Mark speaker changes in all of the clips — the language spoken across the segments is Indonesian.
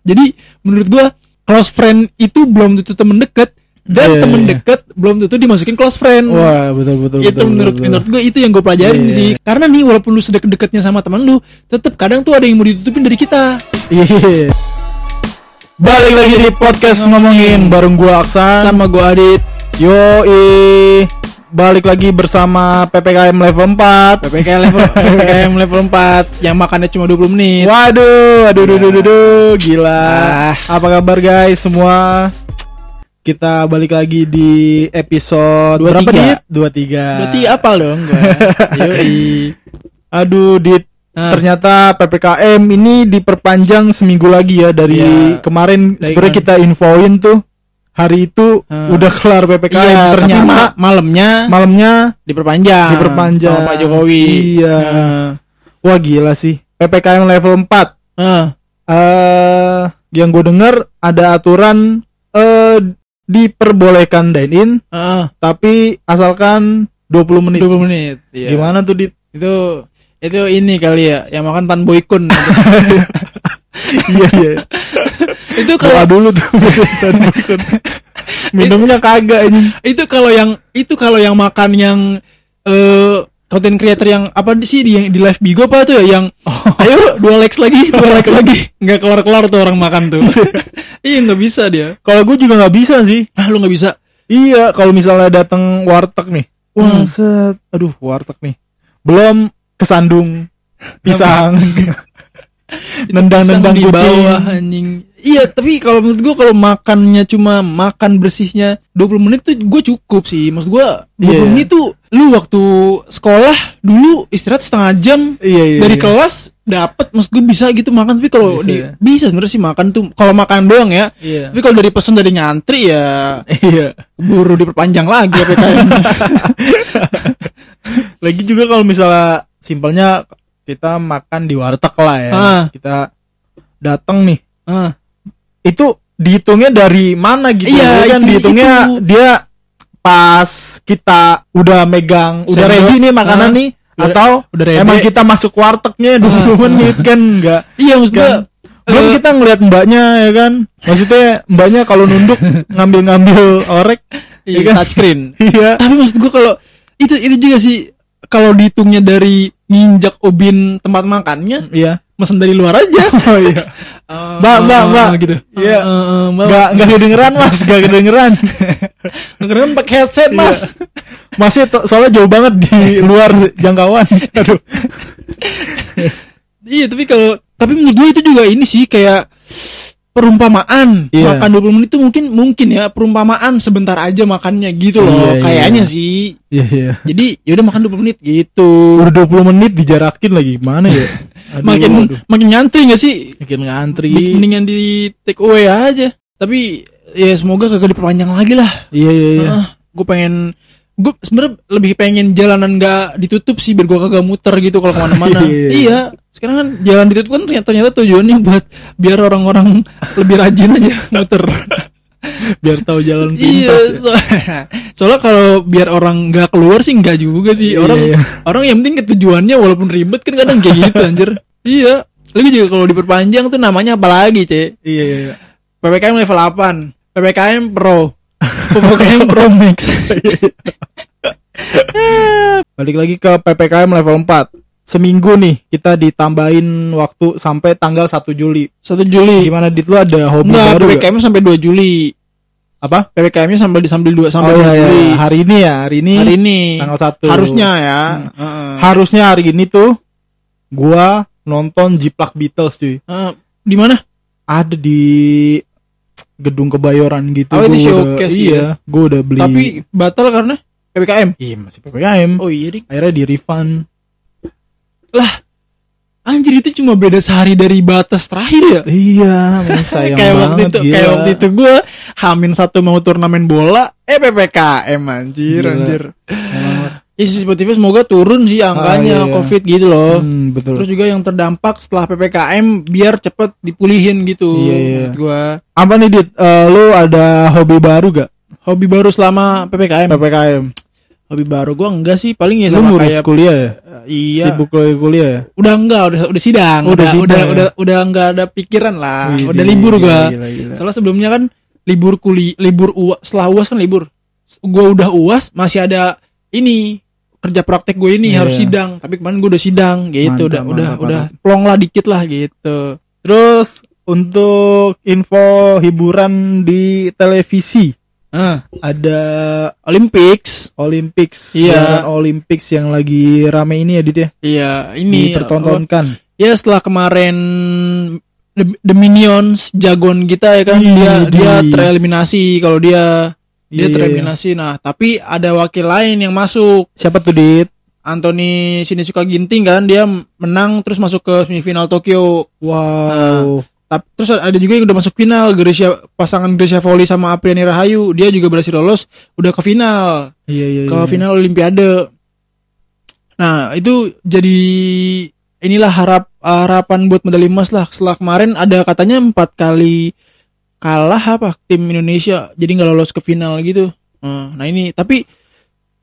Speaker 1: Jadi menurut gua close friend itu belum tentu temen deket dan
Speaker 2: Iya,
Speaker 1: temen
Speaker 2: iya.
Speaker 1: deket belum tentu dimasukin close friend.
Speaker 2: Wah, betul betul
Speaker 1: Hmm. itu
Speaker 2: betul.
Speaker 1: menurut
Speaker 2: betul.
Speaker 1: menurut gue itu yang gue pelajarin
Speaker 2: Iya.
Speaker 1: sih karena nih walaupun lu sedekat-dekatnya sama teman lu tetap kadang tuh ada yang mau ditutupin dari kita
Speaker 2: Iya. Balik lagi di podcast ngomongin bareng gua
Speaker 1: Hmm.
Speaker 2: Aksan.
Speaker 1: sama gue Adit
Speaker 2: Yoi. Balik lagi bersama PPKM level 4.
Speaker 1: PPKM level PPKM level 4 yang makannya cuma 20 menit
Speaker 2: Waduh, aduh, aduh, aduh, aduh, aduh, gila.
Speaker 1: Ah.
Speaker 2: Apa kabar guys semua? Kita balik lagi di episode
Speaker 1: Dua
Speaker 2: berapa
Speaker 1: tiga.
Speaker 2: dit? 23.
Speaker 1: berarti apal dong gue Yoi.
Speaker 2: Aduh, dit.
Speaker 1: Ah.
Speaker 2: Ternyata PPKM ini diperpanjang seminggu lagi ya dari
Speaker 1: Iya.
Speaker 2: kemarin
Speaker 1: Dari
Speaker 2: sebenarnya
Speaker 1: kemarin.
Speaker 2: kita infoin tuh hari itu
Speaker 1: Ah.
Speaker 2: udah kelar PPKM
Speaker 1: Iya,
Speaker 2: ternyata
Speaker 1: tapi ma- malamnya
Speaker 2: malamnya
Speaker 1: diperpanjang
Speaker 2: diperpanjang
Speaker 1: sama Pak Jokowi Ah.
Speaker 2: Iya. Wah gila sih. PPKM level 4.
Speaker 1: Nah, eh,
Speaker 2: Eh yang gue dengar ada aturan eh diperbolehkan dine in
Speaker 1: eh,
Speaker 2: tapi asalkan 20 menit.
Speaker 1: 20 menit Iya.
Speaker 2: Gimana tuh dit?
Speaker 1: itu itu ini kali ya yang makan tan boykun
Speaker 2: Iya iya.
Speaker 1: itu
Speaker 2: Doa
Speaker 1: kalau
Speaker 2: dulu tuh biasanya tadi bukan. Minumnya kagak ini.
Speaker 1: itu kalau yang itu kalau yang makan yang eh content creator yang apa sih di yang di live bigo apa tuh ya yang ayo dua likes lagi dua likes lagi nggak kelar kelar tuh orang makan tuh iya nggak bisa dia
Speaker 2: Kalau gue juga nggak bisa sih.
Speaker 1: ah lu nggak bisa
Speaker 2: Iya, kalau misalnya datang warteg nih.
Speaker 1: Hmm.
Speaker 2: Wah, set. Aduh, warteg nih. Belum kesandung pisang.
Speaker 1: Pisang
Speaker 2: Nendang-nendang
Speaker 1: di
Speaker 2: kucing.
Speaker 1: bawah, anjing iya tapi kalau menurut gua kalau makannya cuma makan bersihnya 20 menit tuh gue cukup sih maksud gua 20
Speaker 2: Iya.
Speaker 1: menit tuh lu waktu sekolah dulu istirahat setengah jam
Speaker 2: Iya, iya.
Speaker 1: dari
Speaker 2: iya.
Speaker 1: kelas dapat maksud gue bisa gitu makan tapi kalau
Speaker 2: Bisa,
Speaker 1: di
Speaker 2: ya.
Speaker 1: bisa sebenarnya sih makan tuh kalau makan doang ya
Speaker 2: Iya.
Speaker 1: tapi kalau dari pesan dari ngantri ya
Speaker 2: Iya.
Speaker 1: buru diperpanjang lagi ya PKM
Speaker 2: Lagi juga kalau misalnya simpelnya kita makan di warteg lah ya.
Speaker 1: Ah.
Speaker 2: Kita datang nih.
Speaker 1: Ah,
Speaker 2: Itu dihitungnya dari mana gitu
Speaker 1: Iya,
Speaker 2: ya kan
Speaker 1: itu-
Speaker 2: dihitungnya
Speaker 1: itu.
Speaker 2: dia pas kita udah megang, udah
Speaker 1: Sendok.
Speaker 2: ready nih makanan
Speaker 1: Ah.
Speaker 2: nih
Speaker 1: Udah-
Speaker 2: atau
Speaker 1: udah ready.
Speaker 2: emang kita masuk wartegnya 20
Speaker 1: Ah.
Speaker 2: menit kan enggak
Speaker 1: iya maksud gue
Speaker 2: Kan. Belum
Speaker 1: eh,
Speaker 2: kita ngeliat mbaknya ya kan. Maksudnya mbaknya kalau nunduk ngambil-ngambil orek
Speaker 1: iya,
Speaker 2: ya kan?
Speaker 1: touchscreen
Speaker 2: Iya.
Speaker 1: tapi maksud gue kalau itu itu juga sih kalau dihitungnya dari nginjak ubin tempat makannya
Speaker 2: Iya.
Speaker 1: mesen dari luar aja
Speaker 2: Oh iya.
Speaker 1: Ah,
Speaker 2: Mbak, mbak, mbak.
Speaker 1: gitu
Speaker 2: Iya.
Speaker 1: Ah, ah, ah, mbak
Speaker 2: Enggak enggak kedengeran Mas, enggak kedengeran.
Speaker 1: keren pakai headset mas
Speaker 2: Mas. Masih to- soalnya jauh banget di luar jangkauan. Aduh.
Speaker 1: Iya, tapi kalau tapi menurut gue itu juga ini sih kayak perumpamaan.
Speaker 2: Iya.
Speaker 1: Makan 20 menit itu mungkin mungkin ya perumpamaan sebentar aja makannya gitu loh.
Speaker 2: Iya, iya.
Speaker 1: Kayaknya sih.
Speaker 2: Iya iya.
Speaker 1: Jadi ya udah makan 20 menit gitu.
Speaker 2: Udah 20 menit dijarakin lagi gimana ya? Aduh,
Speaker 1: makin
Speaker 2: aduh.
Speaker 1: makin nyantri gak sih?
Speaker 2: makin
Speaker 1: Iya.
Speaker 2: ngantri.
Speaker 1: Mendingan di take away aja. Tapi ya semoga kagak diperpanjang lagi lah.
Speaker 2: Iya iya iya.
Speaker 1: Ah, gue pengen gue sebenarnya lebih pengen jalanan gak ditutup sih biar gue kagak muter gitu kalau kemana-mana
Speaker 2: Iya.
Speaker 1: iya sekarang kan jalan ditutup kan ternyata, ternyata tujuannya buat biar orang-orang lebih rajin aja muter
Speaker 2: Biar tahu jalan
Speaker 1: iya
Speaker 2: pintas. ya.
Speaker 1: so- soalnya kalau biar orang nggak keluar sih nggak juga sih
Speaker 2: Iya,
Speaker 1: orang
Speaker 2: iya.
Speaker 1: orang yang penting ke tujuannya walaupun ribet kan kadang kayak gitu anjir iya lagi juga kalau diperpanjang tuh namanya apa lagi cek
Speaker 2: Iya iya. iya.
Speaker 1: PPKM level 8 PPKM Pro PPKM Pro Max
Speaker 2: Balik lagi ke PPKM level 4 Seminggu nih kita ditambahin waktu sampai tanggal 1 Juli
Speaker 1: 1 Juli
Speaker 2: Gimana Dit lu ada hobi
Speaker 1: Enggak,
Speaker 2: baru ya? nggak?
Speaker 1: PPKM sampai 2 Juli.
Speaker 2: Apa?
Speaker 1: PPKM-nya sampai sampai 2 sampai 2
Speaker 2: Oh, iya, iya.
Speaker 1: Juli.
Speaker 2: Hari ini ya, hari ini
Speaker 1: Hari ini.
Speaker 2: tanggal Hmm, 1
Speaker 1: Harusnya ya.
Speaker 2: Harusnya hari ini tuh Gua nonton Jiplak Beatles cuy
Speaker 1: Eh, di mana?
Speaker 2: Ada di gedung kebayoran gitu
Speaker 1: Oh,
Speaker 2: Gua
Speaker 1: ini
Speaker 2: udah-
Speaker 1: showcase
Speaker 2: Iya, gue udah beli
Speaker 1: Tapi batal karena PPKM.
Speaker 2: Iya masih PPKM
Speaker 1: Oh iya, Dik.
Speaker 2: Akhirnya di refund
Speaker 1: Lah. Anjir itu cuma beda sehari dari batas terakhir ya.
Speaker 2: Iya, emang sayang
Speaker 1: kayak waktu
Speaker 2: banget
Speaker 1: itu,
Speaker 2: gila.
Speaker 1: kayak waktu itu gue hamin satu mau turnamen bola, eh PPKM anjir
Speaker 2: Gila.
Speaker 1: anjir.
Speaker 2: Emang-
Speaker 1: Ya sih positifnya semoga turun sih angkanya
Speaker 2: Ah, iya.
Speaker 1: COVID gitu loh.
Speaker 2: Hmm, betul
Speaker 1: Terus juga yang terdampak setelah PPKM biar cepet dipulihin gitu.
Speaker 2: Iya, iya.
Speaker 1: menurut Gua
Speaker 2: apa nih dit Eh, lu ada hobi baru gak
Speaker 1: hobi baru selama PPKM.
Speaker 2: ppkm
Speaker 1: hobi baru gua enggak sih paling ya
Speaker 2: Lu
Speaker 1: sama
Speaker 2: ngurus
Speaker 1: kayak
Speaker 2: kuliah ya?
Speaker 1: iya
Speaker 2: Sibuk kuliah, kuliah ya?
Speaker 1: udah enggak udah udah sidang
Speaker 2: Oh, udah
Speaker 1: udah
Speaker 2: sidang
Speaker 1: udah,
Speaker 2: ya?
Speaker 1: udah udah enggak ada pikiran lah
Speaker 2: Widih,
Speaker 1: udah libur
Speaker 2: gila,
Speaker 1: gua
Speaker 2: gila, gila.
Speaker 1: soalnya sebelumnya kan libur kuli libur uas setelah uas kan libur gua udah uas masih ada ini kerja praktek gue ini
Speaker 2: Iya.
Speaker 1: harus sidang tapi kemarin gua udah sidang gitu
Speaker 2: Mantap,
Speaker 1: udah udah
Speaker 2: mantap,
Speaker 1: udah plong lah dikit lah gitu
Speaker 2: Terus untuk info hiburan di televisi
Speaker 1: ah
Speaker 2: ada
Speaker 1: Olympics
Speaker 2: Olympics,
Speaker 1: Iya.
Speaker 2: gelaran Olympics yang lagi rame ini ya Dit ya,
Speaker 1: iya ini
Speaker 2: dipertontonkan.
Speaker 1: ya setelah kemarin The, The Minions jagoon kita ya kan dia
Speaker 2: Widih.
Speaker 1: dia tereliminasi kalau dia dia
Speaker 2: Iya, iya,
Speaker 1: tereliminasi nah tapi ada wakil lain yang masuk
Speaker 2: iya. Siapa tuh Dit?
Speaker 1: Anthony Sinisuka Ginting kan dia menang terus masuk ke semifinal Tokyo
Speaker 2: Wow.
Speaker 1: tapi terus ada juga yang udah masuk final Gresia pasangan Gresia Voli sama Apriani Rahayu dia juga berhasil lolos udah ke final
Speaker 2: iya iya.
Speaker 1: ke
Speaker 2: iya.
Speaker 1: final Olimpiade nah itu jadi inilah harap harapan buat medali emas lah setelah kemarin ada katanya empat kali kalah apa tim Indonesia jadi nggak lolos ke final gitu nah nah ini tapi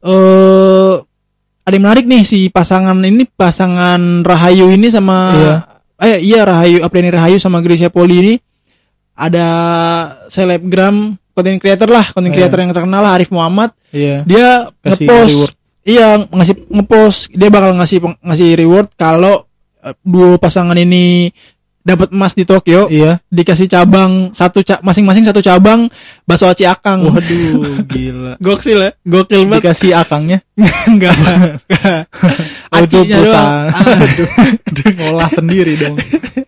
Speaker 1: eh ada yang menarik nih si pasangan ini pasangan Rahayu ini sama
Speaker 2: Iya.
Speaker 1: eh iya Rahayu Apriani Rahayu sama Gracia Poli ini ada selebgram content creator lah content
Speaker 2: Iya.
Speaker 1: creator yang terkenal lah, Arif Muhammad
Speaker 2: Iya.
Speaker 1: dia
Speaker 2: Kasih
Speaker 1: ngepost
Speaker 2: reward.
Speaker 1: iya ngasih ngepost dia bakal ngasih peng- ngasih reward kalau eh, dua pasangan ini dapat emas di Tokyo
Speaker 2: Iya.
Speaker 1: dikasih cabang satu ca- masing-masing satu cabang bakso aci akang
Speaker 2: Waduh, gila.
Speaker 1: gokil ya gokil banget
Speaker 2: Dikasih akangnya.
Speaker 1: enggak
Speaker 2: Oh, itu
Speaker 1: Acinya doang.
Speaker 2: perusahaan.
Speaker 1: Ah,
Speaker 2: Ngolah sendiri dong.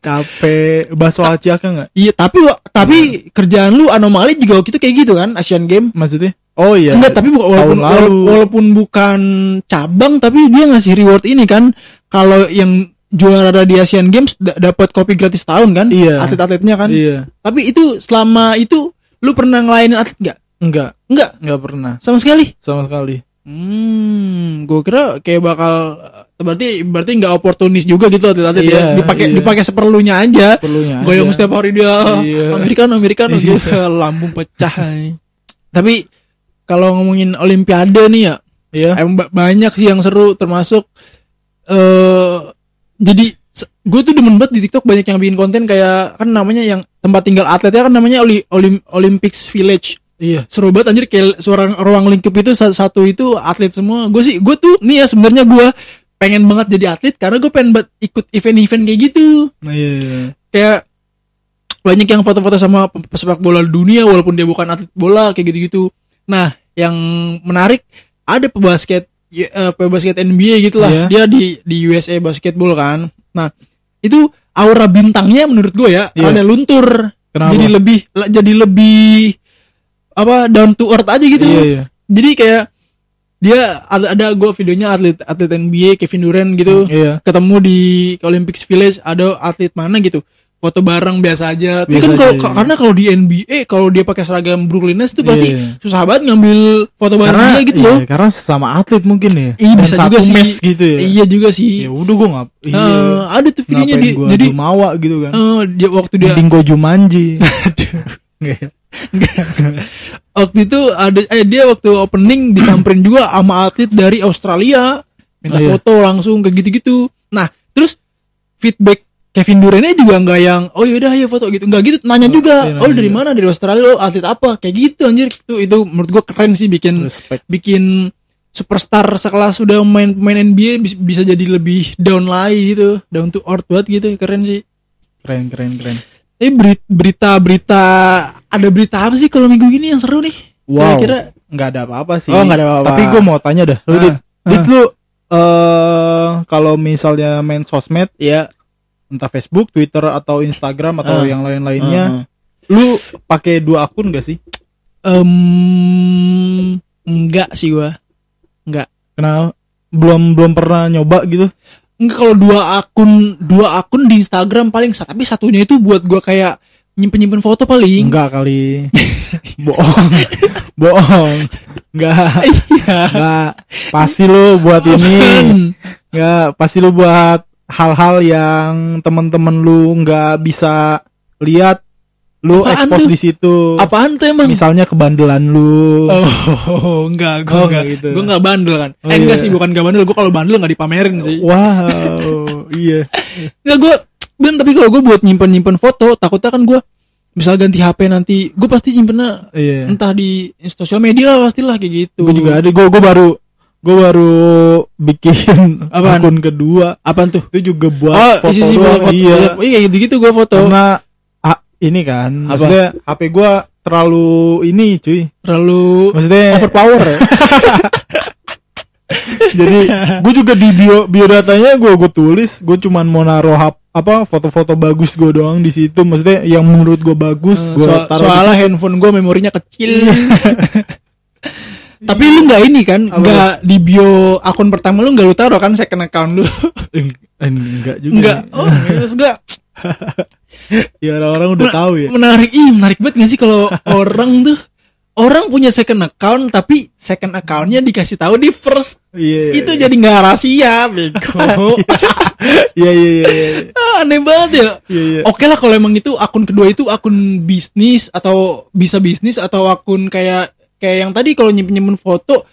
Speaker 2: Capek. Bakso aci akang nggak?
Speaker 1: iya tapi wa- tapi kerjaan lu anomali juga waktu itu kayak gitu kan Asian Game
Speaker 2: Maksudnya? Oh iya.
Speaker 1: Enggak, tapi bukan- walaupun,
Speaker 2: tahun lalu.
Speaker 1: walaupun bukan cabang, tapi dia ngasih reward ini kan. Kalau yang juara di Asian Games da- dapat kopi gratis tahun kan,
Speaker 2: Iya.
Speaker 1: atlet-atletnya kan.
Speaker 2: Iya.
Speaker 1: Tapi itu selama itu lu pernah ngelainin atlet nggak?
Speaker 2: Enggak,
Speaker 1: Enggak,
Speaker 2: enggak pernah
Speaker 1: sama sekali.
Speaker 2: sama sekali.
Speaker 1: Hmm, gue kira kayak bakal berarti berarti nggak oportunis juga gitu atlet-atlet
Speaker 2: Iya,
Speaker 1: ya. Dipakai
Speaker 2: iya.
Speaker 1: dipakai seperlunya aja.
Speaker 2: Perlunya.
Speaker 1: Goyong
Speaker 2: aja.
Speaker 1: setiap hari dia.
Speaker 2: Iya.
Speaker 1: Amerikan, Amerikan,
Speaker 2: Iya.
Speaker 1: lambung pecah. Tapi kalau ngomongin Olimpiade nih ya,
Speaker 2: Iya.
Speaker 1: Emang ba- banyak sih yang seru termasuk eh jadi gue tuh demen banget di TikTok banyak yang bikin konten kayak kan namanya yang tempat tinggal atletnya kan namanya Oli, Olim- Olympics Village.
Speaker 2: Iya.
Speaker 1: Seru banget anjir kayak suara ruang lingkup itu sa- satu itu atlet semua. Gue sih gue tuh nih ya sebenarnya gue pengen banget jadi atlet karena gue pengen banget ikut event-event kayak gitu.
Speaker 2: Nah, iya, iya.
Speaker 1: Kayak banyak yang foto-foto sama pe- pesepak bola dunia walaupun dia bukan atlet bola kayak gitu-gitu. Nah, yang menarik ada pebasket ya, eh, pebasket NBA gitu
Speaker 2: Iya.
Speaker 1: lah. Dia di di USA Basketball kan. Nah, itu aura bintangnya menurut gue ya
Speaker 2: Iya.
Speaker 1: ada luntur.
Speaker 2: Kenapa?
Speaker 1: Jadi lebih le- jadi lebih apa down to earth aja gitu.
Speaker 2: Iya, iya.
Speaker 1: Jadi kayak dia ada, ada gue videonya atlet atlet NBA Kevin Durant gitu
Speaker 2: Iya.
Speaker 1: ketemu di Olympics Village ada atlet mana gitu foto bareng biasa aja tapi
Speaker 2: Biasa
Speaker 1: kan kalau
Speaker 2: aja,
Speaker 1: ka-
Speaker 2: iya.
Speaker 1: karena kalau di NBA kalau dia pakai seragam Brooklyn Nets itu pasti
Speaker 2: Iya.
Speaker 1: susah banget ngambil foto bareng
Speaker 2: Karena
Speaker 1: dia gitu
Speaker 2: iya,
Speaker 1: loh
Speaker 2: karena sesama atlet mungkin ya.
Speaker 1: Iya,
Speaker 2: Main
Speaker 1: bisa
Speaker 2: satu
Speaker 1: juga sih.
Speaker 2: mes gitu ya.
Speaker 1: iya juga
Speaker 2: Ya
Speaker 1: sih
Speaker 2: udah gua enggak. Iya.
Speaker 1: Eh, ada tuh videonya
Speaker 2: Ngapain
Speaker 1: di,
Speaker 2: gua
Speaker 1: jadi
Speaker 2: jumawa gitu kan.
Speaker 1: eh, dia waktu dia
Speaker 2: Mending gua jumanji. Nggak ya?
Speaker 1: waktu itu ada eh dia waktu opening disamperin juga sama atlet dari Australia minta
Speaker 2: Oh, iya.
Speaker 1: foto langsung kayak gitu-gitu nah terus feedback Kevin Durantnya juga nggak yang oh yaudah ayo foto gitu nggak gitu nanya
Speaker 2: Oh,
Speaker 1: juga
Speaker 2: iya, nanya
Speaker 1: oh dari
Speaker 2: juga.
Speaker 1: mana dari Australia oh atlet apa kayak gitu anjir itu itu menurut gua keren sih bikin
Speaker 2: Respect.
Speaker 1: bikin superstar sekelas udah main pemain NBA bis- bisa jadi lebih down lagi gitu down to earth banget gitu keren sih
Speaker 2: Keren keren keren.
Speaker 1: tapi beri- berita-berita ada berita apa sih kalau minggu gini yang seru nih
Speaker 2: Wow.
Speaker 1: kira-kira
Speaker 2: nggak ada apa-apa sih.
Speaker 1: Oh, nggak ada apa-apa.
Speaker 2: Tapi gua mau tanya dah. Lu
Speaker 1: Ah,
Speaker 2: Dit, Dit,
Speaker 1: ah.
Speaker 2: lu eh kalau misalnya main sosmed
Speaker 1: ya
Speaker 2: entah Facebook, Twitter atau Instagram atau
Speaker 1: Ah.
Speaker 2: yang lain-lainnya, lu pakai dua akun gak sih?
Speaker 1: Em, enggak sih gua.
Speaker 2: Kenapa? Belum belum pernah nyoba gitu?
Speaker 1: Enggak kalau dua akun, dua akun di Instagram paling sa- tapi satunya itu buat gua kayak nyimpen-nyimpen foto paling.
Speaker 2: Enggak kali. Bohong. Bohong. Enggak.
Speaker 1: Iya.
Speaker 2: Enggak. Pasti lu buat ini.
Speaker 1: Hmm.
Speaker 2: Enggak, Ya, pasti lu buat hal-hal yang temen-temen lu nggak bisa lihat lu
Speaker 1: Apaan
Speaker 2: expose
Speaker 1: tuh?
Speaker 2: di situ
Speaker 1: Apaan tuh emang?
Speaker 2: misalnya kebandelan lu
Speaker 1: Oh, enggak, gue
Speaker 2: Oh,
Speaker 1: enggak,
Speaker 2: gitu.
Speaker 1: gue enggak bandel kan.
Speaker 2: Oh,
Speaker 1: eh, enggak
Speaker 2: iya. Oh.
Speaker 1: sih, bukan enggak bandel. Gue kalau bandel enggak dipamerin sih.
Speaker 2: wow iya
Speaker 1: Enggak gue, ben tapi kalau gue buat nyimpen nyimpen foto, takutnya kan gue misal ganti HP nanti, gue pasti nyimpennya
Speaker 2: iya
Speaker 1: entah di sosial media lah pastilah kayak gitu.
Speaker 2: gue juga ada gue gue baru gue baru bikin
Speaker 1: Apaan?
Speaker 2: akun kedua
Speaker 1: Apaan tuh?
Speaker 2: itu juga buat
Speaker 1: oh,
Speaker 2: foto
Speaker 1: isi-isi
Speaker 2: doang,
Speaker 1: buat foto.
Speaker 2: iya
Speaker 1: iya gitu gitu gue foto.
Speaker 2: karena ah, ini kan maksudnya HP gue terlalu ini cuy
Speaker 1: Terlalu
Speaker 2: maksudnya
Speaker 1: overpower ya.
Speaker 2: jadi gue juga di bio biodatanya gue gue tulis gue cuman mau naruh hap- apa foto-foto bagus gue doang di situ maksudnya yang menurut gue bagus
Speaker 1: Eh,
Speaker 2: gue
Speaker 1: soal-
Speaker 2: taruh di Iya.
Speaker 1: soalnya handphone gue memorinya kecil. Tapi lu nggak ini kan,
Speaker 2: Apa?
Speaker 1: nggak di bio akun pertama lu nggak lu taruh kan second account lu,
Speaker 2: situ. Eh, enggak juga
Speaker 1: nggak? Oh, terus nggak
Speaker 2: ya orang-orang udah
Speaker 1: Mena-
Speaker 2: tahu ya
Speaker 1: menarik, ih menarik banget nggak sih kalau orang tuh orang punya second account tapi second accountnya dikasih tahu di first
Speaker 2: iya iya,
Speaker 1: itu
Speaker 2: iya. Oh.
Speaker 1: jadi nggak rahasia, bego.
Speaker 2: iya iya iya iya
Speaker 1: Ah, Aneh banget ya.
Speaker 2: iya iya
Speaker 1: Oke lah kalau emang itu akun kedua itu akun bisnis atau bisa bisnis atau akun kayak kayak yang tadi kalau nyimpen nyimpen foto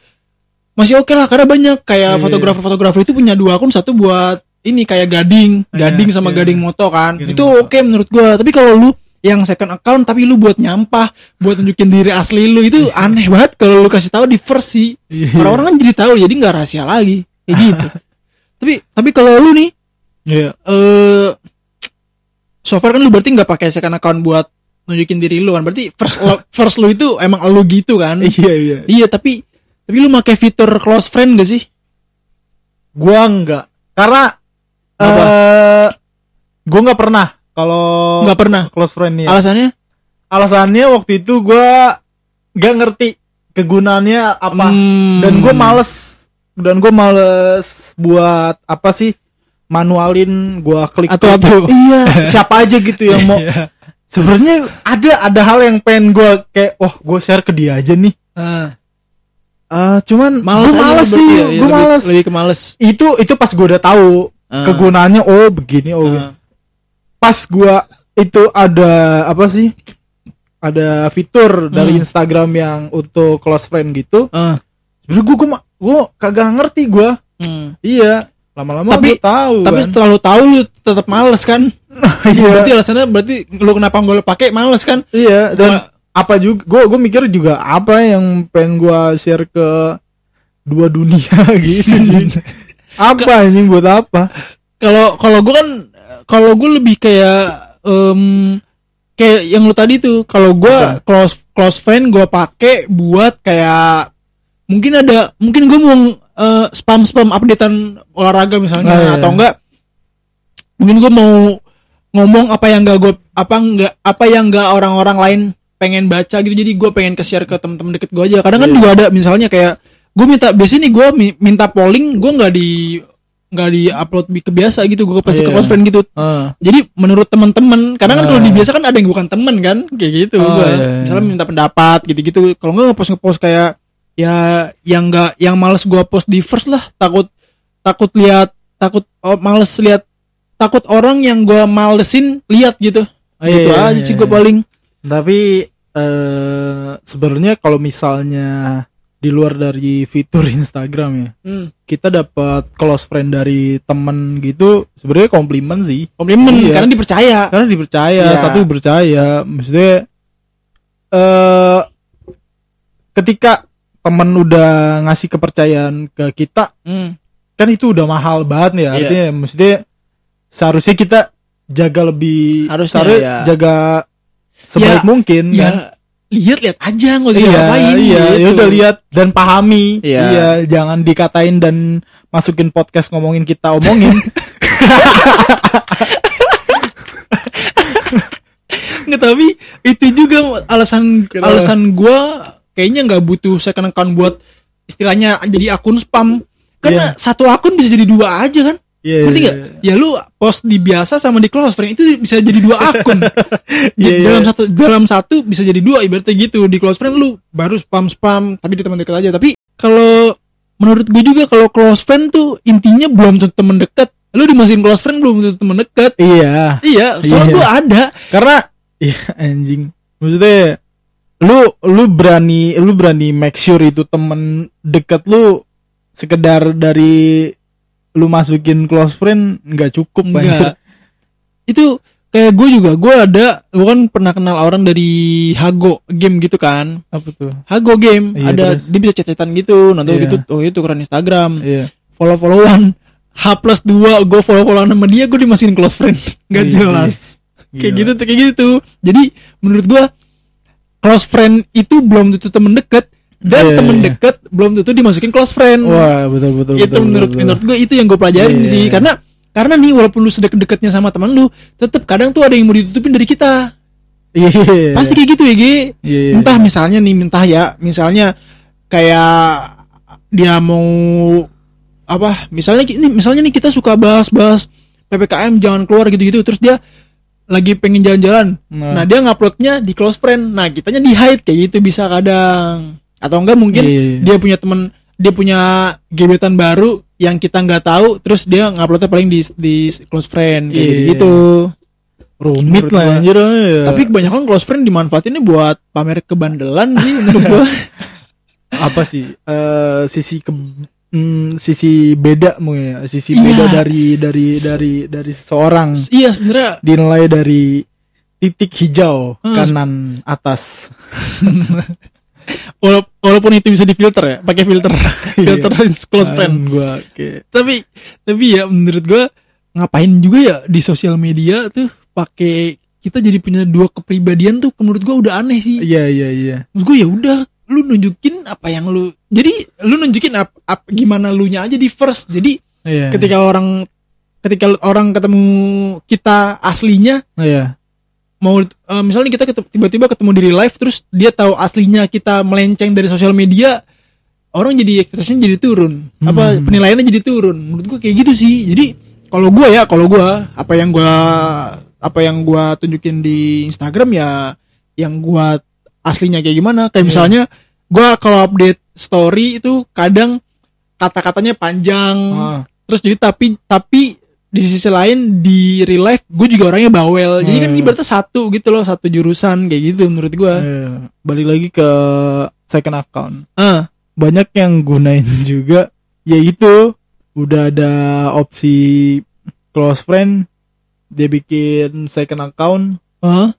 Speaker 1: masih oke lah karena banyak
Speaker 2: Iya,
Speaker 1: kayak
Speaker 2: iya.
Speaker 1: fotografer-fotografer itu punya dua akun satu buat ini kayak gading,
Speaker 2: Iya,
Speaker 1: gading sama
Speaker 2: iya.
Speaker 1: gading moto kan.
Speaker 2: Gading
Speaker 1: itu
Speaker 2: moto.
Speaker 1: oke menurut gua. Tapi kalau lu yang second account tapi lu buat nyampah, buat tunjukin diri asli lu itu aneh banget kalau lu kasih tahu di first sih.
Speaker 2: Iya.
Speaker 1: Orang-orang kan jadi tahu jadi nggak rahasia lagi kayak gitu. tapi tapi kalau lu nih
Speaker 2: Iya.
Speaker 1: eh so far kan lu berarti nggak pakai second account buat nunjukin diri lu kan berarti first lo- first lu itu emang lu gitu kan
Speaker 2: iya iya
Speaker 1: iya tapi tapi lu pakai fitur close friend gak sih
Speaker 2: gua enggak karena
Speaker 1: Apa?
Speaker 2: eh gua nggak pernah kalau
Speaker 1: nggak pernah
Speaker 2: close friend ya
Speaker 1: alasannya
Speaker 2: alasannya waktu itu gua nggak ngerti kegunaannya apa
Speaker 1: Hmm.
Speaker 2: dan gue males dan gue males buat apa sih manualin gue klik
Speaker 1: Atu-atu.
Speaker 2: iya siapa aja gitu yang mau
Speaker 1: Iya.
Speaker 2: sebenarnya ada ada hal yang pengen gue kayak wah gue share ke dia aja nih
Speaker 1: Ah,
Speaker 2: Eh, cuman
Speaker 1: males aja
Speaker 2: gue males
Speaker 1: lu
Speaker 2: sih
Speaker 1: berarti ya, ya,
Speaker 2: gue
Speaker 1: lebih-
Speaker 2: males
Speaker 1: lebih ke males
Speaker 2: itu itu pas gue udah tahu
Speaker 1: Ah.
Speaker 2: kegunaannya oh begini oh begini.
Speaker 1: Ah.
Speaker 2: pas gue itu ada apa sih ada fitur dari
Speaker 1: Hmm.
Speaker 2: Instagram yang untuk close friend gitu
Speaker 1: Ah.
Speaker 2: sebenernya gue gue kagak ngerti gue
Speaker 1: Hmm.
Speaker 2: Iya, lama-lama
Speaker 1: Tapi-
Speaker 2: gue tahu.
Speaker 1: tapi
Speaker 2: kan.
Speaker 1: setelah lu tahu lu tetap males kan
Speaker 2: iya,
Speaker 1: berarti alasannya berarti lu kenapa nggak lu pakai males kan
Speaker 2: iya dan
Speaker 1: Gua-
Speaker 2: apa juga gue gue mikir juga apa yang pengen gue share ke dua dunia gitu Jin. apa anjing buat apa?
Speaker 1: kalau kalau gue kan kalau gue lebih kayak em, kayak yang lu tadi tuh kalau gue
Speaker 2: Apa?
Speaker 1: close close friend gue pakai buat kayak mungkin ada mungkin gue mau spam spam updatean olahraga misalnya
Speaker 2: Ah, iya.
Speaker 1: atau enggak mungkin gue mau ngomong apa yang gak gue apa enggak apa yang enggak orang-orang lain pengen baca gitu jadi gue pengen ke share ke temen-temen deket gue aja kadang kan juga ada misalnya kayak gue minta biasanya nih gue minta polling gue nggak di nggak di upload ke biasa gitu gue pasti ke
Speaker 2: Iya.
Speaker 1: close friend gitu jadi menurut teman-teman kadang kan kalau
Speaker 2: Ah.
Speaker 1: di biasa kan ada yang bukan temen kan kayak gitu
Speaker 2: Oh,
Speaker 1: gua.
Speaker 2: iya, iya.
Speaker 1: misalnya minta pendapat gitu-gitu kalau nggak ngepost ngepost kayak ya yang nggak yang males gua post di first lah takut takut lihat takut oh, males lihat takut orang yang gua malesin lihat gitu
Speaker 2: Oh,
Speaker 1: gitu
Speaker 2: iya,
Speaker 1: aja
Speaker 2: iya,
Speaker 1: sih
Speaker 2: iya.
Speaker 1: gua paling
Speaker 2: Tapi eh sebenarnya kalau misalnya di luar dari fitur Instagram ya,
Speaker 1: hmm,
Speaker 2: kita dapat close friend dari temen gitu, sebenarnya komplimen sih.
Speaker 1: komplimen
Speaker 2: Iya.
Speaker 1: karena dipercaya
Speaker 2: karena dipercaya
Speaker 1: Iya.
Speaker 2: satu percaya maksudnya eh ketika temen udah ngasih kepercayaan ke kita
Speaker 1: Hmm.
Speaker 2: kan itu udah mahal banget ya
Speaker 1: Iya.
Speaker 2: artinya maksudnya seharusnya kita jaga lebih
Speaker 1: Harusnya,
Speaker 2: seharusnya
Speaker 1: ya.
Speaker 2: jaga
Speaker 1: Ya,
Speaker 2: sebaik mungkin
Speaker 1: ya
Speaker 2: kan
Speaker 1: lihat-lihat aja nggak usah
Speaker 2: iya
Speaker 1: ngapain
Speaker 2: iya
Speaker 1: gitu.
Speaker 2: ya udah lihat dan pahami
Speaker 1: Iya.
Speaker 2: iya jangan dikatain dan masukin podcast ngomongin kita omongin
Speaker 1: Nggak, tapi itu juga alasan
Speaker 2: Kenapa?
Speaker 1: alasan gua kayaknya nggak butuh second account buat istilahnya jadi akun spam karena satu akun bisa jadi dua aja kan
Speaker 2: iya
Speaker 1: berarti
Speaker 2: iya,
Speaker 1: nggak ya lu post di biasa sama di close friend itu bisa jadi dua akun Di-
Speaker 2: Iya, iya.
Speaker 1: dalam satu dalam satu bisa jadi dua ibaratnya gitu di close friend lu baru spam spam tapi di teman dekat aja tapi kalau menurut gue juga kalau close friend tuh intinya belum tentu teman dekat lu dimasukin close friend belum tentu teman dekat
Speaker 2: iya.
Speaker 1: iya soalnya
Speaker 2: Iya.
Speaker 1: gua ada
Speaker 2: Karena Iya anjing. Maksudnya lu lu berani lu berani make sure itu temen deket lu sekedar dari lu masukin close friend nggak cukup
Speaker 1: Enggak.
Speaker 2: banget.
Speaker 1: Itu kayak gue juga, gue ada, gue kan pernah kenal orang dari Hago game gitu kan.
Speaker 2: Apa tuh?
Speaker 1: Hago game,
Speaker 2: Iya,
Speaker 1: ada
Speaker 2: terus?
Speaker 1: dia bisa cecetan gitu, nanti
Speaker 2: Iya.
Speaker 1: gitu, oh itu keren Instagram,
Speaker 2: Iya.
Speaker 1: follow followan, H plus dua, gue follow followan sama dia, gue dimasukin close friend, nggak
Speaker 2: Iya,
Speaker 1: jelas.
Speaker 2: iya.
Speaker 1: Kayak
Speaker 2: Gila.
Speaker 1: gitu, kayak gitu. Jadi menurut gue close friend itu belum tentu temen deket dan
Speaker 2: Iya, iya,
Speaker 1: temen
Speaker 2: iya.
Speaker 1: deket belum tentu dimasukin close friend
Speaker 2: Wah betul betul.
Speaker 1: itu
Speaker 2: betul,
Speaker 1: menurut
Speaker 2: betul,
Speaker 1: menurut gue itu yang gue pelajarin
Speaker 2: Iya.
Speaker 1: sih karena karena nih walaupun lu sedek deketnya sama teman lu tetap kadang tuh ada yang mau ditutupin dari kita
Speaker 2: Iya.
Speaker 1: pasti kayak gitu ya Gi
Speaker 2: Iya, iya,
Speaker 1: entah misalnya nih entah ya misalnya kayak dia mau apa misalnya ki- ini misalnya nih kita suka bahas-bahas ppkm jangan keluar gitu-gitu terus dia lagi pengen jalan-jalan nah.
Speaker 2: Nah.
Speaker 1: dia nguploadnya di close friend nah kitanya di hide kayak gitu bisa kadang atau enggak mungkin
Speaker 2: Iya, iya.
Speaker 1: dia punya temen dia punya gebetan baru yang kita nggak tahu terus dia nguploadnya paling di di close friend kayak
Speaker 2: Iya.
Speaker 1: gitu
Speaker 2: rumit
Speaker 1: menurut gua.
Speaker 2: lah anjir. iya.
Speaker 1: tapi kebanyakan close friend dimanfaatinnya buat pamer kebandelan sih menurut gua
Speaker 2: apa sih eh sisi ke mm, sisi beda mungkin ya sisi
Speaker 1: Iya.
Speaker 2: beda dari dari dari dari seseorang
Speaker 1: iya sebenarnya
Speaker 2: dinilai dari titik hijau
Speaker 1: Hmm.
Speaker 2: kanan atas
Speaker 1: wala- walaupun itu bisa difilter ya pakai filter
Speaker 2: Iya.
Speaker 1: filter close friend
Speaker 2: Kan gua kayak
Speaker 1: tapi tapi ya menurut gua ngapain juga ya di sosial media tuh pakai kita jadi punya dua kepribadian tuh menurut gua udah aneh sih
Speaker 2: iya iya iya
Speaker 1: Maksud gue ya udah lu nunjukin apa yang lu jadi lu nunjukin ap, ap- gimana lu nya aja di first jadi
Speaker 2: iya
Speaker 1: ketika orang ketika lu- orang ketemu kita aslinya
Speaker 2: iya
Speaker 1: mau eh, misalnya kita ketem- tiba-tiba ketemu diri live terus dia tahu aslinya kita melenceng dari sosial media orang jadi ekspektasinya jadi turun apa
Speaker 2: Hmm.
Speaker 1: penilaiannya jadi turun menurut gue kayak gitu sih jadi kalau gue ya kalau gue apa yang gue apa yang gue tunjukin di Instagram ya yang gue aslinya kayak gimana kayak
Speaker 2: Iya.
Speaker 1: misalnya gue kalau update story itu kadang kata-katanya panjang
Speaker 2: Ah,
Speaker 1: terus jadi tapi tapi di sisi lain di real life gue juga orangnya bawel jadi kan
Speaker 2: Hmm.
Speaker 1: ini berarti satu gitu loh satu jurusan kayak gitu menurut gue
Speaker 2: iya. balik lagi ke second account
Speaker 1: ah
Speaker 2: banyak yang gunain juga yaitu udah ada opsi close friend dia bikin second account
Speaker 1: ah.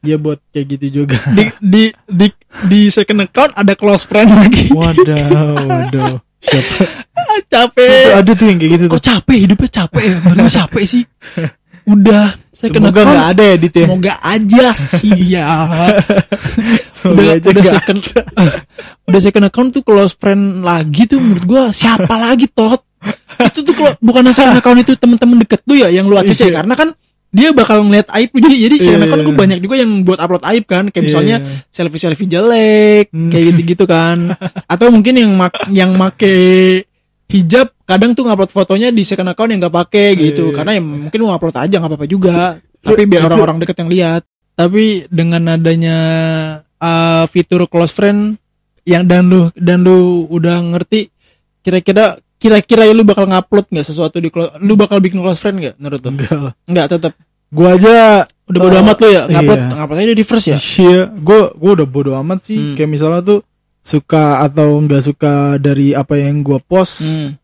Speaker 2: dia buat kayak gitu juga
Speaker 1: di, di di di second account ada close friend lagi
Speaker 2: waduh waduh siapa
Speaker 1: Ah,
Speaker 2: Tuh,
Speaker 1: capek
Speaker 2: ada tuh yang kayak gitu tuh
Speaker 1: kok capek hidupnya capek ya Menurut gua capek sih udah second
Speaker 2: semoga nggak
Speaker 1: account
Speaker 2: ada ya dit ya
Speaker 1: semoga aja sih ya
Speaker 2: semoga
Speaker 1: udah,
Speaker 2: aja
Speaker 1: udah
Speaker 2: nggak.
Speaker 1: second ah, udah second account tuh close friend lagi tuh menurut gua siapa lagi tot itu tuh kalau bukan second account itu temen-temen deket tuh ya yang lu acc
Speaker 2: Iya.
Speaker 1: karena kan dia bakal ngeliat aib lu. jadi jadi second
Speaker 2: Iya.
Speaker 1: account tuh banyak juga yang buat upload aib kan kayak misalnya
Speaker 2: Iya.
Speaker 1: selfie selfie jelek
Speaker 2: Hmm.
Speaker 1: kayak gitu gitu kan atau mungkin yang mak- yang make hijab kadang tuh ngupload fotonya di second account yang nggak pakai gitu
Speaker 2: Iya.
Speaker 1: karena ya mungkin lu ngupload aja nggak apa-apa juga tapi biar orang-orang deket yang lihat tapi dengan adanya uh, fitur close friend yang dan lu dan lu udah ngerti kira-kira kira-kira lu bakal ngupload nggak sesuatu di clo- lu bakal bikin close friend nggak menurut lu
Speaker 2: Enggak lah.
Speaker 1: nggak tetap
Speaker 2: gua aja
Speaker 1: udah bodo
Speaker 2: Eh,
Speaker 1: amat lu ya ngupload
Speaker 2: iya.
Speaker 1: ngupload aja di first ya
Speaker 2: iya gua gua udah bodo amat sih
Speaker 1: Hmm.
Speaker 2: kayak misalnya tuh suka atau nggak suka dari apa yang gua post
Speaker 1: Hmm.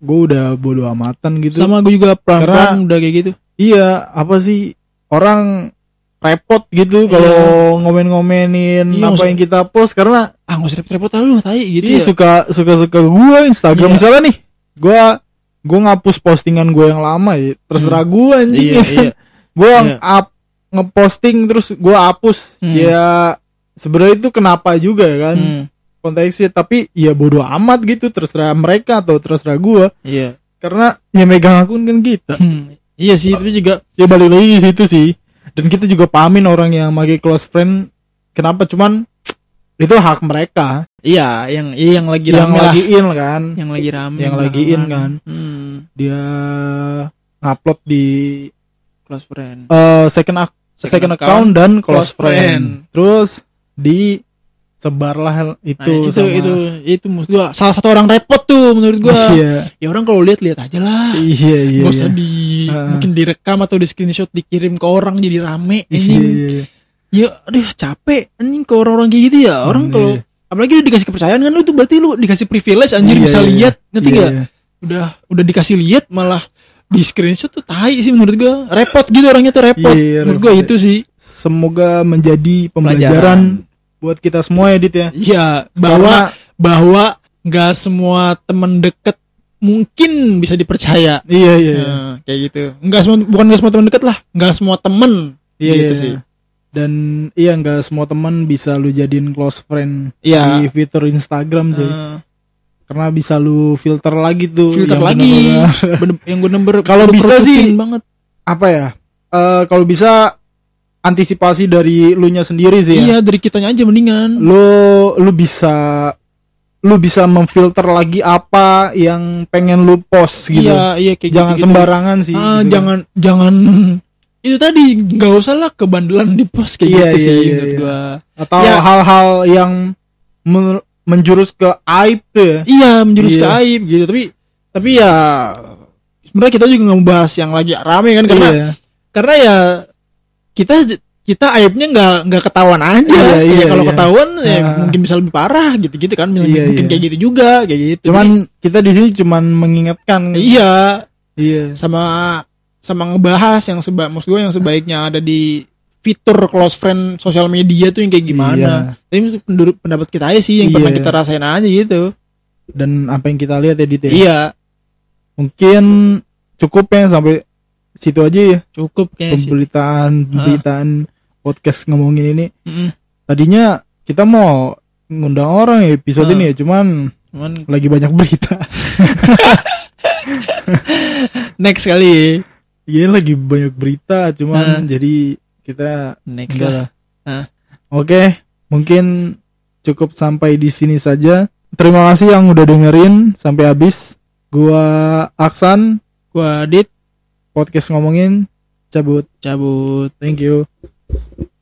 Speaker 2: gua udah bodo amatan gitu
Speaker 1: sama gue juga pelan-pelan
Speaker 2: Karena-
Speaker 1: udah kayak gitu
Speaker 2: iya apa sih orang repot gitu kalau ngomen-ngomenin
Speaker 1: Iya,
Speaker 2: apa
Speaker 1: maksud-
Speaker 2: yang kita post karena
Speaker 1: ah nggak usah repot-repot lah lu tai gitu
Speaker 2: ini
Speaker 1: ya.
Speaker 2: suka suka suka gua Instagram
Speaker 1: Iya.
Speaker 2: misalnya nih gua gua ngapus postingan gua yang lama ya terserah gua anjing
Speaker 1: iya
Speaker 2: ya kan.
Speaker 1: iya
Speaker 2: gua
Speaker 1: Iya.
Speaker 2: up ngeposting terus gua hapus
Speaker 1: Hmm.
Speaker 2: ya sebenarnya itu kenapa juga ya kan
Speaker 1: Hmm,
Speaker 2: konteksnya tapi ya bodoh amat gitu terserah mereka atau terserah gua
Speaker 1: iya
Speaker 2: karena yang megang akun kan kita
Speaker 1: Hmm, iya sih itu juga
Speaker 2: ya balik lagi ke situ sih dan kita juga pahamin orang yang pakai close friend kenapa cuman itu hak mereka
Speaker 1: iya yang iya yang lagi
Speaker 2: yang
Speaker 1: rame lah.
Speaker 2: lagiin kan
Speaker 1: yang lagi rame
Speaker 2: yang
Speaker 1: belakangan.
Speaker 2: lagiin kan.
Speaker 1: hmm,
Speaker 2: dia ngupload di
Speaker 1: close friend
Speaker 2: eh, second ac- second, account, dan
Speaker 1: close
Speaker 2: close
Speaker 1: friend.
Speaker 2: friend. terus di sebarlah itu
Speaker 1: Nah, itu,
Speaker 2: sama
Speaker 1: itu itu maksud gua salah satu orang repot tuh menurut gua
Speaker 2: iya
Speaker 1: ya orang kalau lihat lihat aja lah
Speaker 2: iya iya
Speaker 1: Gak usah
Speaker 2: iya.
Speaker 1: di
Speaker 2: Heeh.
Speaker 1: mungkin direkam atau di screenshot dikirim ke orang jadi rame
Speaker 2: Iya,
Speaker 1: anjing.
Speaker 2: iya, iya.
Speaker 1: Ya aduh capek anjing ke orang-orang kayak gitu ya. Orang
Speaker 2: Hmm,
Speaker 1: kalau
Speaker 2: iya.
Speaker 1: apalagi udah dikasih kepercayaan kan lu tuh berarti lu dikasih privilege anjir
Speaker 2: Iya,
Speaker 1: bisa
Speaker 2: iya,
Speaker 1: lihat ngerti
Speaker 2: Iya,
Speaker 1: gak?
Speaker 2: iya.
Speaker 1: Udah udah dikasih lihat malah di screenshot tuh tai sih menurut gua. Repot gitu orangnya tuh repot.
Speaker 2: Iya,
Speaker 1: menurut
Speaker 2: repot.
Speaker 1: gua itu sih.
Speaker 2: semoga menjadi pembelajaran buat kita semua ya Dit ya
Speaker 1: Iya, bahwa bahwa nggak semua temen deket mungkin bisa dipercaya.
Speaker 2: iya iya iya.
Speaker 1: Nah, kayak gitu. Enggak semua bukan nggak semua temen deket lah, nggak semua temen
Speaker 2: iya
Speaker 1: gitu
Speaker 2: iya.
Speaker 1: sih.
Speaker 2: dan iya nggak semua teman bisa lu jadiin close friend
Speaker 1: Iya.
Speaker 2: di fitur Instagram Iya sih
Speaker 1: Eh,
Speaker 2: karena bisa lu filter lagi tuh
Speaker 1: filter
Speaker 2: yang
Speaker 1: lagi
Speaker 2: bener-bener-
Speaker 1: Bener- yang gue number
Speaker 2: Kalau
Speaker 1: gue
Speaker 2: bisa
Speaker 1: produktifin
Speaker 2: sih-
Speaker 1: banget
Speaker 2: apa ya Eh kalau bisa antisipasi dari lu nya sendiri sih ya.
Speaker 1: iya dari kitanya aja mendingan
Speaker 2: lu lu bisa lu bisa memfilter lagi apa yang pengen lu post gitu
Speaker 1: iya iya kayak
Speaker 2: jangan
Speaker 1: gitu-gitu.
Speaker 2: sembarangan sih
Speaker 1: Ah,
Speaker 2: gitu.
Speaker 1: jangan jangan itu tadi nggak usah lah kebandelan di post kayak
Speaker 2: Iya,
Speaker 1: gitu
Speaker 2: iya,
Speaker 1: sih
Speaker 2: iya,
Speaker 1: menurut
Speaker 2: iya.
Speaker 1: gua
Speaker 2: atau
Speaker 1: Ya.
Speaker 2: hal-hal yang men- menjurus ke aib tuh ya
Speaker 1: iya menjurus
Speaker 2: Iya.
Speaker 1: ke aib gitu tapi tapi ya sebenarnya kita juga nggak membahas yang lagi rame kan karena
Speaker 2: Iya.
Speaker 1: karena ya kita kita aibnya nggak nggak ketahuan aja Ya,
Speaker 2: Iya, iya,
Speaker 1: kalau
Speaker 2: iya.
Speaker 1: ketahuan ya
Speaker 2: Ah.
Speaker 1: mungkin bisa lebih parah gitu gitu kan mungkin,
Speaker 2: Iya,
Speaker 1: mungkin
Speaker 2: iya.
Speaker 1: kayak gitu juga kayak gitu
Speaker 2: cuman kita di sini cuman mengingatkan
Speaker 1: iya
Speaker 2: iya
Speaker 1: sama sama ngebahas yang seba maksud gue yang sebaiknya ada di fitur close friend sosial media tuh yang kayak gimana. Tapi itu penduduk- pendapat kita aja sih yang
Speaker 2: Iya.
Speaker 1: pernah kita rasain aja gitu.
Speaker 2: dan apa yang kita lihat ya Dit ya?
Speaker 1: Iya,
Speaker 2: mungkin cukup ya sampai situ aja ya
Speaker 1: cukup kayaknya Iya sih.
Speaker 2: pemberitaan pemberitaan podcast ngomongin ini
Speaker 1: Mm-mm.
Speaker 2: tadinya kita mau ngundang orang ya
Speaker 1: Ah.
Speaker 2: episode ini ya cuman
Speaker 1: Cuman
Speaker 2: lagi banyak berita
Speaker 1: next kali,
Speaker 2: Iya lagi banyak berita
Speaker 1: Ah.
Speaker 2: cuman jadi kita
Speaker 1: next
Speaker 2: enggak
Speaker 1: lah.
Speaker 2: lah
Speaker 1: Ah.
Speaker 2: oke mungkin cukup sampai di sini saja terima kasih yang udah dengerin sampai habis gua Aksan
Speaker 1: Gua Dit
Speaker 2: podcast ngomongin cabut
Speaker 1: cabut.
Speaker 2: thank you